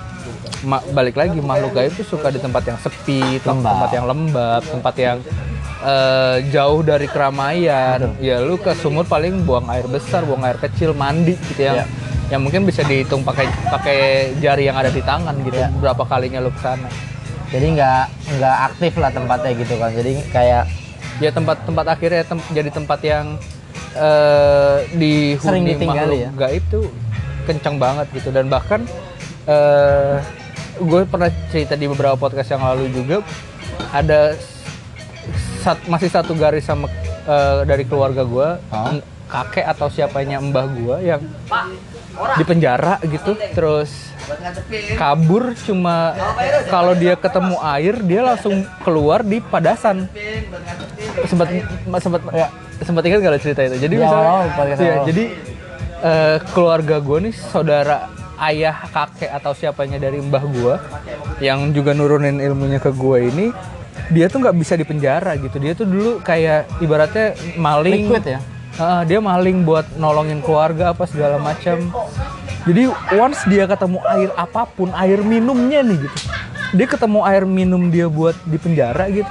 ma- balik lagi makhluk gaib itu suka di tempat yang sepi, tem-
Lembab.
tempat yang lembab, tempat yang eh, jauh dari keramaian. Ya lu ke sumur paling buang air besar, buang air kecil, mandi gitu yang
Ya.
yang mungkin bisa dihitung pakai pakai jari yang ada di tangan gitu
Ya.
berapa kalinya lu kesana
jadi nggak nggak aktif lah tempatnya gitu kan jadi kayak
ya tempat-tempat akhirnya tem- jadi tempat yang eh dihuni
Sering ditinggali ya?
makhluk gaib tuh kencang banget gitu dan bahkan eh gue pernah cerita di beberapa podcast yang lalu juga ada sat- masih satu garis sama eh, dari keluarga gue
Hah?
kakek atau siapanya mbah gue yang di penjara gitu terus kabur cuma kalau dia ketemu air dia langsung keluar di padasan sempat sempat sempat ingat nggak lo cerita itu jadi
Ya,
misalnya
awal-awal podcast
iya,
awal.
jadi eh, keluarga gue nih saudara ayah kakek atau siapanya dari mbah gue yang juga nurunin ilmunya ke gue ini dia tuh nggak bisa dipenjara gitu dia tuh dulu kayak ibaratnya maling
Liquid ya?
Heeh, dia maling buat nolongin keluarga apa segala macam. Jadi once dia ketemu air apapun, air minumnya nih gitu. Dia ketemu air minum dia buat di penjara gitu.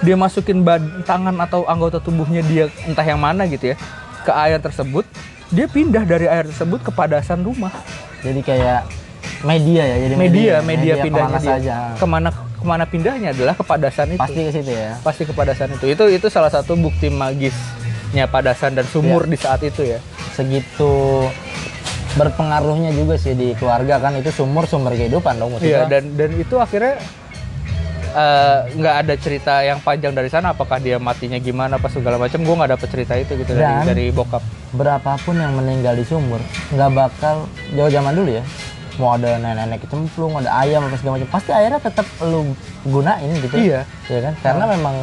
Dia masukin bad- tangan atau anggota tubuhnya dia entah yang mana gitu ya ke air tersebut. Dia pindah dari air tersebut ke padasan rumah.
jadi kayak media ya jadi
Media, media, pindahnya
kemana
dia.
saja
Kemana kemana pindahnya adalah ke padasan itu.
pasti ke situ ya
Pasti ke padasan itu. Itu itu salah satu bukti magisnya padasan dan sumur di saat itu ya.
segitu berpengaruhnya juga sih di keluarga kan itu sumur sumber kehidupan dong
Iya
maksudnya
dan dan itu akhirnya eh, nggak ada cerita yang panjang dari sana apakah dia matinya gimana apa segala macam gue nggak dapet cerita itu gitu dari
Dan-
dari bokap
berapapun yang meninggal di sumur nggak bakal jauh zaman dulu ya mau ada nenek-nenek kecemplung ada ayam apa segala macam pasti airnya tetap lu gunain gitu
Iya.
ya kan karena memang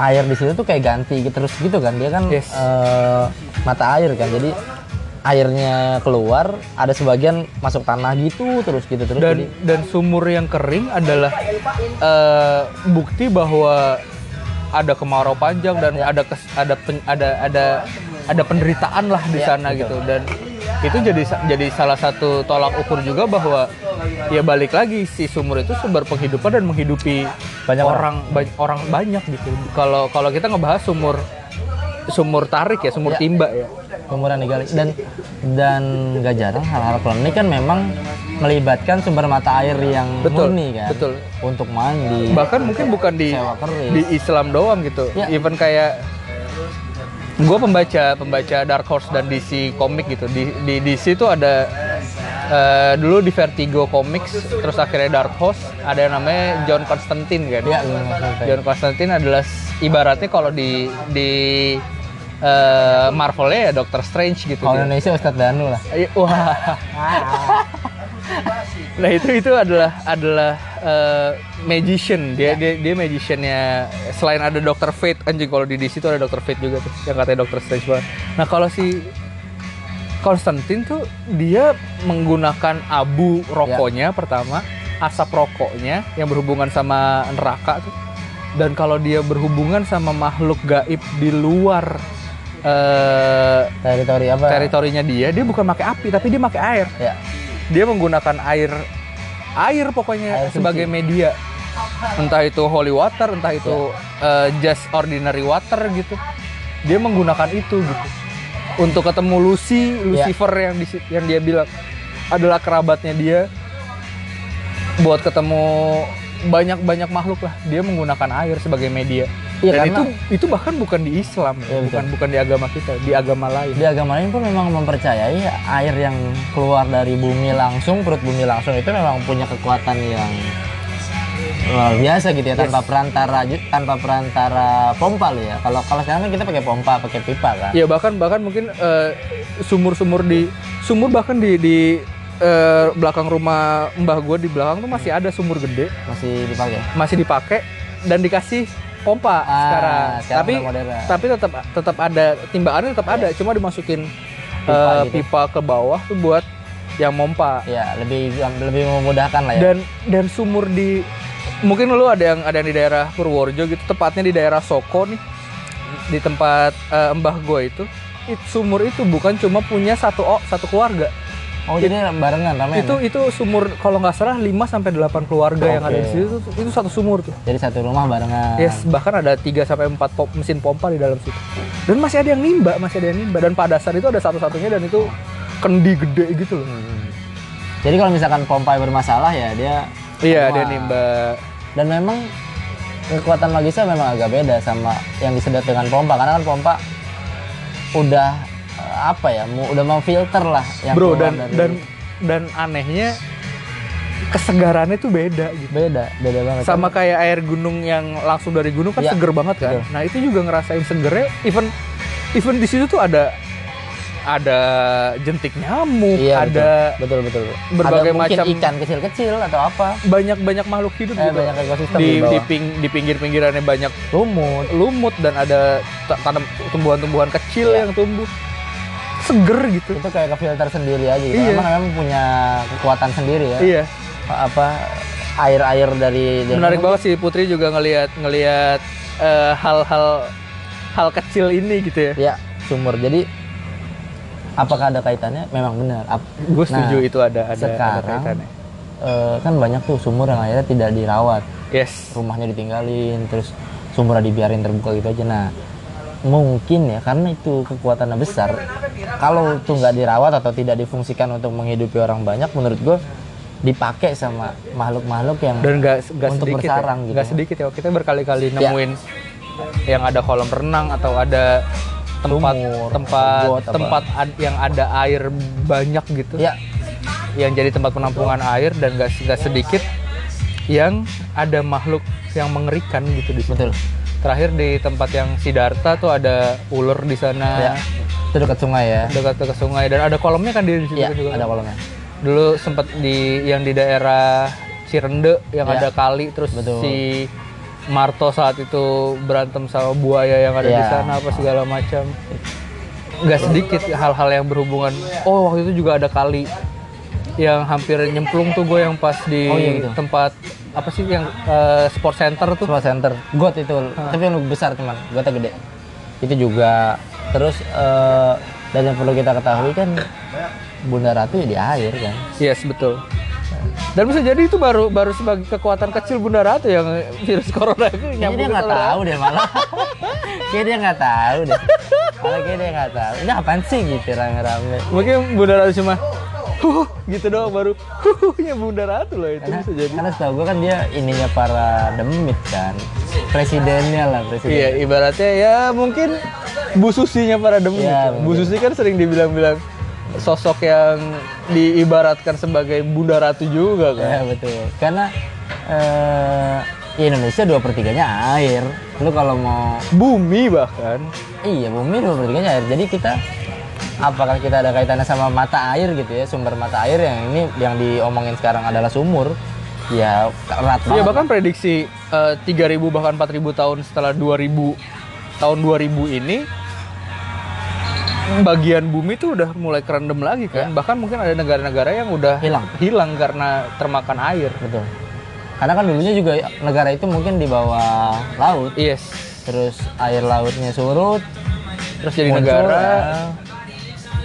air di situ tuh kayak ganti gitu terus gitu kan dia kan
Yes.
eh, mata air kan jadi airnya keluar ada sebagian masuk tanah gitu terus gitu terus
dan
jadi
dan sumur yang kering adalah eh, bukti bahwa ada kemarau panjang dan ada kes- ada pen- ada ada ada penderitaan lah
Iya,
di sana gitu dan itu jadi sa- jadi salah satu tolak ukur juga bahwa ya balik lagi si sumur itu sumber penghidupan dan menghidupi
Banyak
orang ba- orang banyak gitu kalau kalau kita ngebahas sumur sumur tarik ya
Iya.
sumur timba ya
Sumuran digali dan dan nggak jarang hal-hal klinik kan memang melibatkan sumber mata air yang
Betul,
murni kan
betul.
untuk mandi
bahkan mungkin bukan di
Sewa keris.
di Islam doang gitu
Ya.
even kayak gue pembaca pembaca Dark Horse dan DC komik gitu di di DC itu ada eh, dulu di Vertigo Comics terus akhirnya Dark Horse ada yang namanya John Constantine kan
ya lu sampai.
John Constantine adalah s- ibaratnya kalau di di eh, Marvelnya ya Doctor Strange gitu
kalau
dia.
Indonesia Ustadz Danu lah
Iya, Wah. nah itu itu adalah adalah eh, magician dia dia dia magiciannya selain ada Dr. Fate anjing kalau di DC itu ada Dr. Fate juga tuh yang katanya Dr. Strange banget. Nah kalau si Konstantin tuh dia menggunakan abu rokoknya pertama asap rokoknya yang berhubungan sama neraka tuh dan kalau dia berhubungan sama makhluk gaib di luar eh
teritori apa
teritorinya dia dia bukan pakai api tapi dia pakai air
ya
dia menggunakan air air pokoknya
Air suci.
sebagai media entah itu holy water entah itu eh,
Ya.
just ordinary water gitu dia menggunakan itu gitu untuk ketemu
Ya.
Lucy Lucifer yang di, yang dia bilang adalah kerabatnya dia buat ketemu banyak-banyak makhluk lah dia menggunakan air sebagai media.
Iya,
Dan
karena-
itu itu bahkan bukan di Islam, ya,
Iya, betul.
bukan bukan di agama kita, di agama lain.
Di agama lain pun memang mempercayai air yang keluar dari bumi langsung, perut bumi langsung itu memang punya kekuatan yang luar biasa gitu ya tanpa perantara ju- tanpa perantara pompa loh ya. Kalau kalau sekarang kan kita pakai pompa, pakai pipa kan.
Ya bahkan bahkan mungkin eh, sumur-sumur di sumur bahkan di di eh, belakang rumah mbah gua di belakang tuh masih ada sumur gede
Masih dipakai.
masih dipakai dan dikasih pompa
Ah,
sekarang.
sekarang
Tapi
udah modern.
tapi tetap tetap ada timbaannya tetap ada, cuma dimasukin eh,
Pipa
pipa,
gitu.
ke bawah tuh buat yang mompa.
Ya, lebih lebih memudahkan lah ya.
Dan dan sumur di mungkin lu ada yang ada yang di daerah Purworejo gitu, tepatnya di daerah Soko nih. Di tempat eh, Mbah gua itu, it- sumur itu bukan cuma punya satu o- satu keluarga.
oh, jadi barengan ramai.
Itu itu sumur kalau nggak salah 5 sampai 8 keluarga yang ada di
Oke.
situ tuh, itu satu sumur tuh.
Jadi satu rumah barengan.
Yes, bahkan ada 3 sampai 4 pom- mesin pompa di dalam situ. Dan masih ada yang nimba, masih ada yang nimba dan pada saat itu ada satu-satunya dan itu kendi gede gitu loh.
Hmm. Jadi kalau misalkan pompa bermasalah ya dia
Iya,
Wah.
ada nimba.
dan memang kekuatan magisnya memang agak beda sama yang disedot dengan pompa karena kan pompa udah eh, apa ya mu- udah memfilter lah yang
Bro
keluar
dan
dari-
dan dan anehnya kesegarannya tuh beda gitu.
beda beda banget
Sama kayak air gunung yang langsung dari gunung kan
Iya,
seger banget kan.
betul.
Nah, itu juga ngerasain segernya even even di situ tuh ada ada jentik nyamuk,
iya,
ada
betul betul, betul.
berbagai
ada mungkin
macam-
ikan kecil-kecil atau apa
banyak-banyak makhluk hidup
Eh,
gitu.
banyak ekosistem
di
di bawah.
di, ping- di pinggir-pinggirannya banyak
lumut
lumut dan ada ta- tanam tumbuhan-tumbuhan kecil
Iya.
yang tumbuh seger gitu
itu kayak ke filter sendiri aja gitu.
Iya.
Emang memang punya kekuatan sendiri ya
iya
apa air-air dari dari
menarik
lumut.
banget sih Putri juga ngelihat ngelihat eh, hal-hal hal kecil ini gitu ya
ya sumur jadi apakah ada kaitannya memang benar Ap-
gue setuju
Nah,
itu ada ada, ya? ada
sekarang-
kaitannya
eh, kan banyak tuh sumur yang akhirnya tidak dirawat
yes
rumahnya ditinggalin terus sumurnya dibiarin terbuka gitu aja nah mungkin ya karena itu kekuatannya besar kalau itu nggak dirawat atau tidak difungsikan untuk menghidupi orang banyak menurut gue dipakai sama makhluk-makhluk yang
dan nggak nggak
Untuk
sedikit ya.
bersarang gitu.
nggak sedikit ya kita berkali-kali
Iya.
nemuin yang ada kolam renang atau ada tempat
Sumur,
tempat
got, apa.
tempat ad- yang ada air banyak gitu
ya
yang jadi tempat penampungan air dan gak, nggak sedikit yang ada makhluk yang mengerikan gitu di situ.
betul
Terakhir di tempat yang Sidarta tuh ada ular di
ya
sana
itu dekat sungai ya
dekat dekat sungai dan ada kolamnya kan di di situ
ya
juga.
ada kolamnya
Dulu sempat di yang di daerah Cirende yang
Ya.
ada kali terus
Betul.
si Marto saat itu berantem sama buaya yang ada di
Ya.
sana apa segala macam. Gak sedikit hal-hal yang berhubungan. Oh waktu itu juga ada kali yang hampir nyemplung tuh gue yang pas di
Oh, iya gitu.
tempat apa sih yang eh, sport center tuh.
Smart center got itu tapi yang besar teman gotnya gede itu juga terus eh, dan yang perlu kita ketahui kan Bunda Ratu ya di air kan
Yes betul. Dan bisa jadi itu baru baru sebagai kekuatan kecil Bunda Ratu yang virus corona itu
Kayaknya dia
nyambungin
nggak
sama-
tahu deh malah. Kayaknya dia nggak tahu deh. Malah kayaknya dia nggak tahu. Ini apaan sih gitu rame-rame.
Mungkin Bunda Ratu cuma huh gitu doang baru huhnya Bunda Ratu loh itu
Karena,
bisa jadi.
karena setahu gue kan dia ininya para demit kan. Presidennya lah presiden.
Iya ibaratnya ya mungkin Bu Susinya para demi.
Iya,
Bu
mungkin.
Susi kan sering dibilang-bilang sosok yang diibaratkan sebagai Bunda Ratu juga kan.
Ya, betul. Karena eh, ya Indonesia dua pertiganya air. Lu kalau mau
Bumi bahkan.
Iya, bumi dua pertiganya air. Jadi kita apakah kita ada kaitannya sama mata air gitu ya sumber mata air yang ini yang diomongin sekarang adalah sumur ya erat banget
Iya bahkan prediksi eh, 3000 bahkan 4000 tahun setelah 2000 tahun 2000 ini bagian bumi tuh udah mulai kerendam lagi kan. Bahkan mungkin ada negara-negara yang udah
Iya. Hilang.
hilang karena termakan air.
Betul. Karena kan dulunya juga negara itu mungkin di bawah laut,
Yes.
terus air lautnya surut,
Terus jadi
muncul
negara
ya.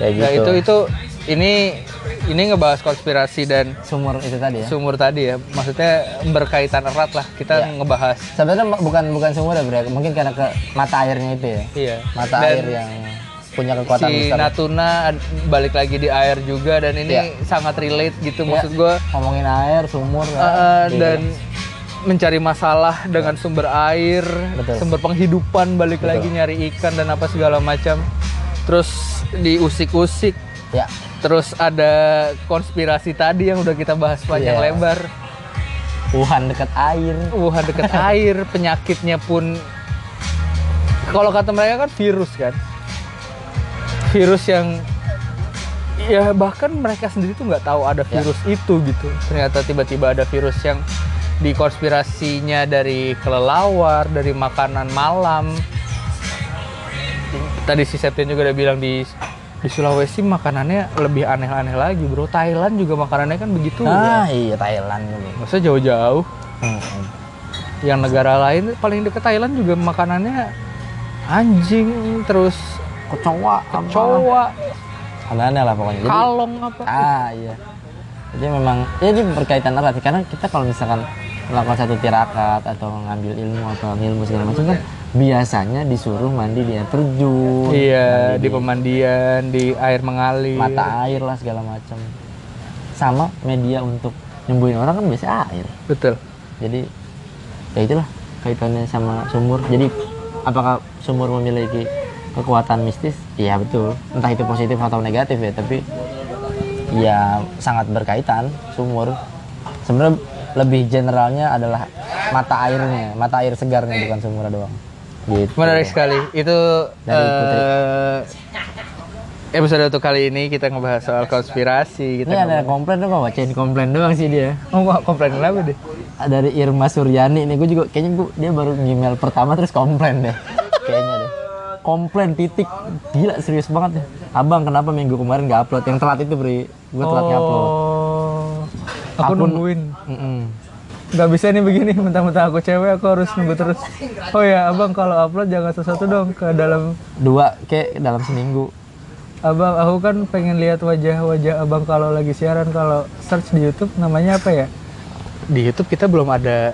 Kayak
Ya
gitu.
itu itu ini ini ngebahas konspirasi dan
sumur itu tadi ya.
sumur tadi ya. Maksudnya berkaitan erat lah kita
Iya.
ngebahas.
Sebenarnya ma- bukan bukan sumur ya, Bre. Mungkin karena ke mata airnya itu ya.
Iya.
Mata
Dan
air yang punya kekuatan
si
besar.
Natuna ad- balik lagi di air juga dan ini
Iya.
sangat relate gitu
Iya.
maksud gua
Ngomongin air, sumur ya.
eh, eh,
iya. Ya.
dan mencari masalah dengan sumber air,
Betul.
sumber penghidupan balik lagi nyari ikan dan apa segala macam. Terus diusik-usik,
ya
terus ada konspirasi tadi yang udah kita bahas panjang
Iya.
lebar.
Wuhan dekat air
Wuhan deket air, penyakitnya pun kalau kata mereka kan virus kan, virus yang ya bahkan mereka sendiri tuh nggak tahu ada virus itu gitu. Ternyata tiba-tiba ada virus yang dikonspirasinya dari kelelawar, dari makanan malam. Tadi si Septian juga udah bilang di di Sulawesi makanannya lebih aneh-aneh lagi bro. Thailand juga makanannya kan begitu.
ah iya Thailand dulu
Masa jauh-jauh
Hmm.
yang negara lain paling deket Thailand juga makanannya anjing terus
kecoa kecoa
kecoa
aneh lah pokoknya Jadi-
kalong apa
Ah iya. Jadi memang ya ini berkaitan erat sih. karena kita kalau misalkan melakukan satu tirakat atau ngambil ilmu atau ilmu segala macam kan biasanya disuruh mandi di air terjun,
iya
mandi
di pemandian di air mengalir
mata air lah segala macam. Sama media untuk nyembuhin orang kan biasanya air.
betul
Jadi ya itulah kaitannya sama sumur. Jadi apakah sumur memiliki kekuatan mistis? Iya betul. Entah itu positif atau negatif ya, tapi ya sangat berkaitan sumur. Sebenarnya lebih generalnya adalah mata airnya, mata air segarnya bukan sumur doang. Gitu.
menarik sekali itu
Dari
eh, episode untuk kali ini kita ngebahas soal konspirasi
Ini
kita
ada komplain dong, gua bacain komplain doang sih dia.
ngomong oh, komplain kenapa deh
Dari Irma Suryani nih, gue juga kayaknya gue dia baru email pertama terus komplain deh. kayaknya deh. Komplain titik gila serius banget ya. Abang kenapa minggu kemarin gak upload? Yang telat itu Bri. Gue telat ngupload.
oh aku
Akun-
nungguin
Mm-mm.
nggak bisa nih begini mentah-mentah aku cewek aku harus nunggu terus oh ya abang kalau upload jangan sesuatu dong ke dalam
Dua kayak dalam seminggu.
Abang, aku kan pengen lihat wajah-wajah abang kalau lagi siaran. Kalau search di YouTube namanya apa ya? Di YouTube kita belum ada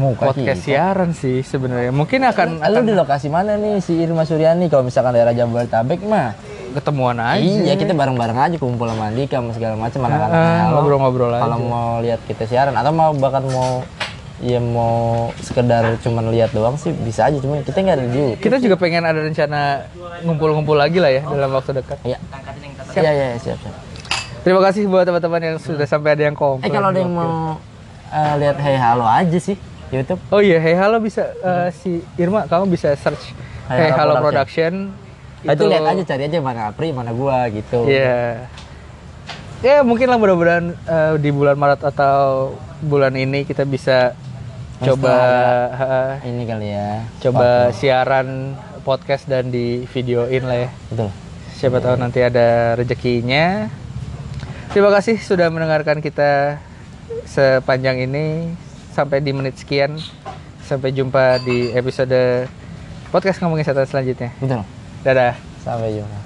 Muka
podcast
kita.
siaran sih sebenarnya. Mungkin akan,
Lu
akan
di lokasi mana nih si Irma Suryani? Kalau misalkan daerah Jabodetabek mah.
ketemuan aja.
Iya, kita bareng-bareng aja kumpul sama Andika sama segala macam anak-anak.
Ah,
Halo.
ngobrol-ngobrol aja.
Kalau mau lihat kita siaran atau mau bahkan mau ya mau sekedar cuman lihat doang sih bisa aja cuman kita nggak ada di YouTube.
Kita juga pengen ada rencana ngumpul-ngumpul lagi lah ya dalam waktu dekat.
Iya. Iya iya iya, siap siap.
Terima kasih buat teman-teman yang sudah sampai ada yang komplain.
Eh kalau ada yang mau eh, lihat Hey Halo aja sih YouTube.
Oh iya, hey halo bisa eh, si Irma kamu bisa search hey,
Hmm. Hey
halo,
Halo
production.
Itu, lihat aja cari aja mana Apri mana gua gitu.
Iya. Ya mungkin lah mudah-mudahan eh, di bulan Maret atau bulan ini kita bisa
Yang
coba eh,
Ini kali ya.
coba siaran podcast dan di videoin lah ya.
Betul.
Siapa tahu nanti ada rezekinya. Terima kasih sudah mendengarkan kita sepanjang ini sampai di menit sekian. Sampai jumpa di episode podcast ngomongin setan selanjutnya.
Betul.
Dadah.
Sampai jumpa.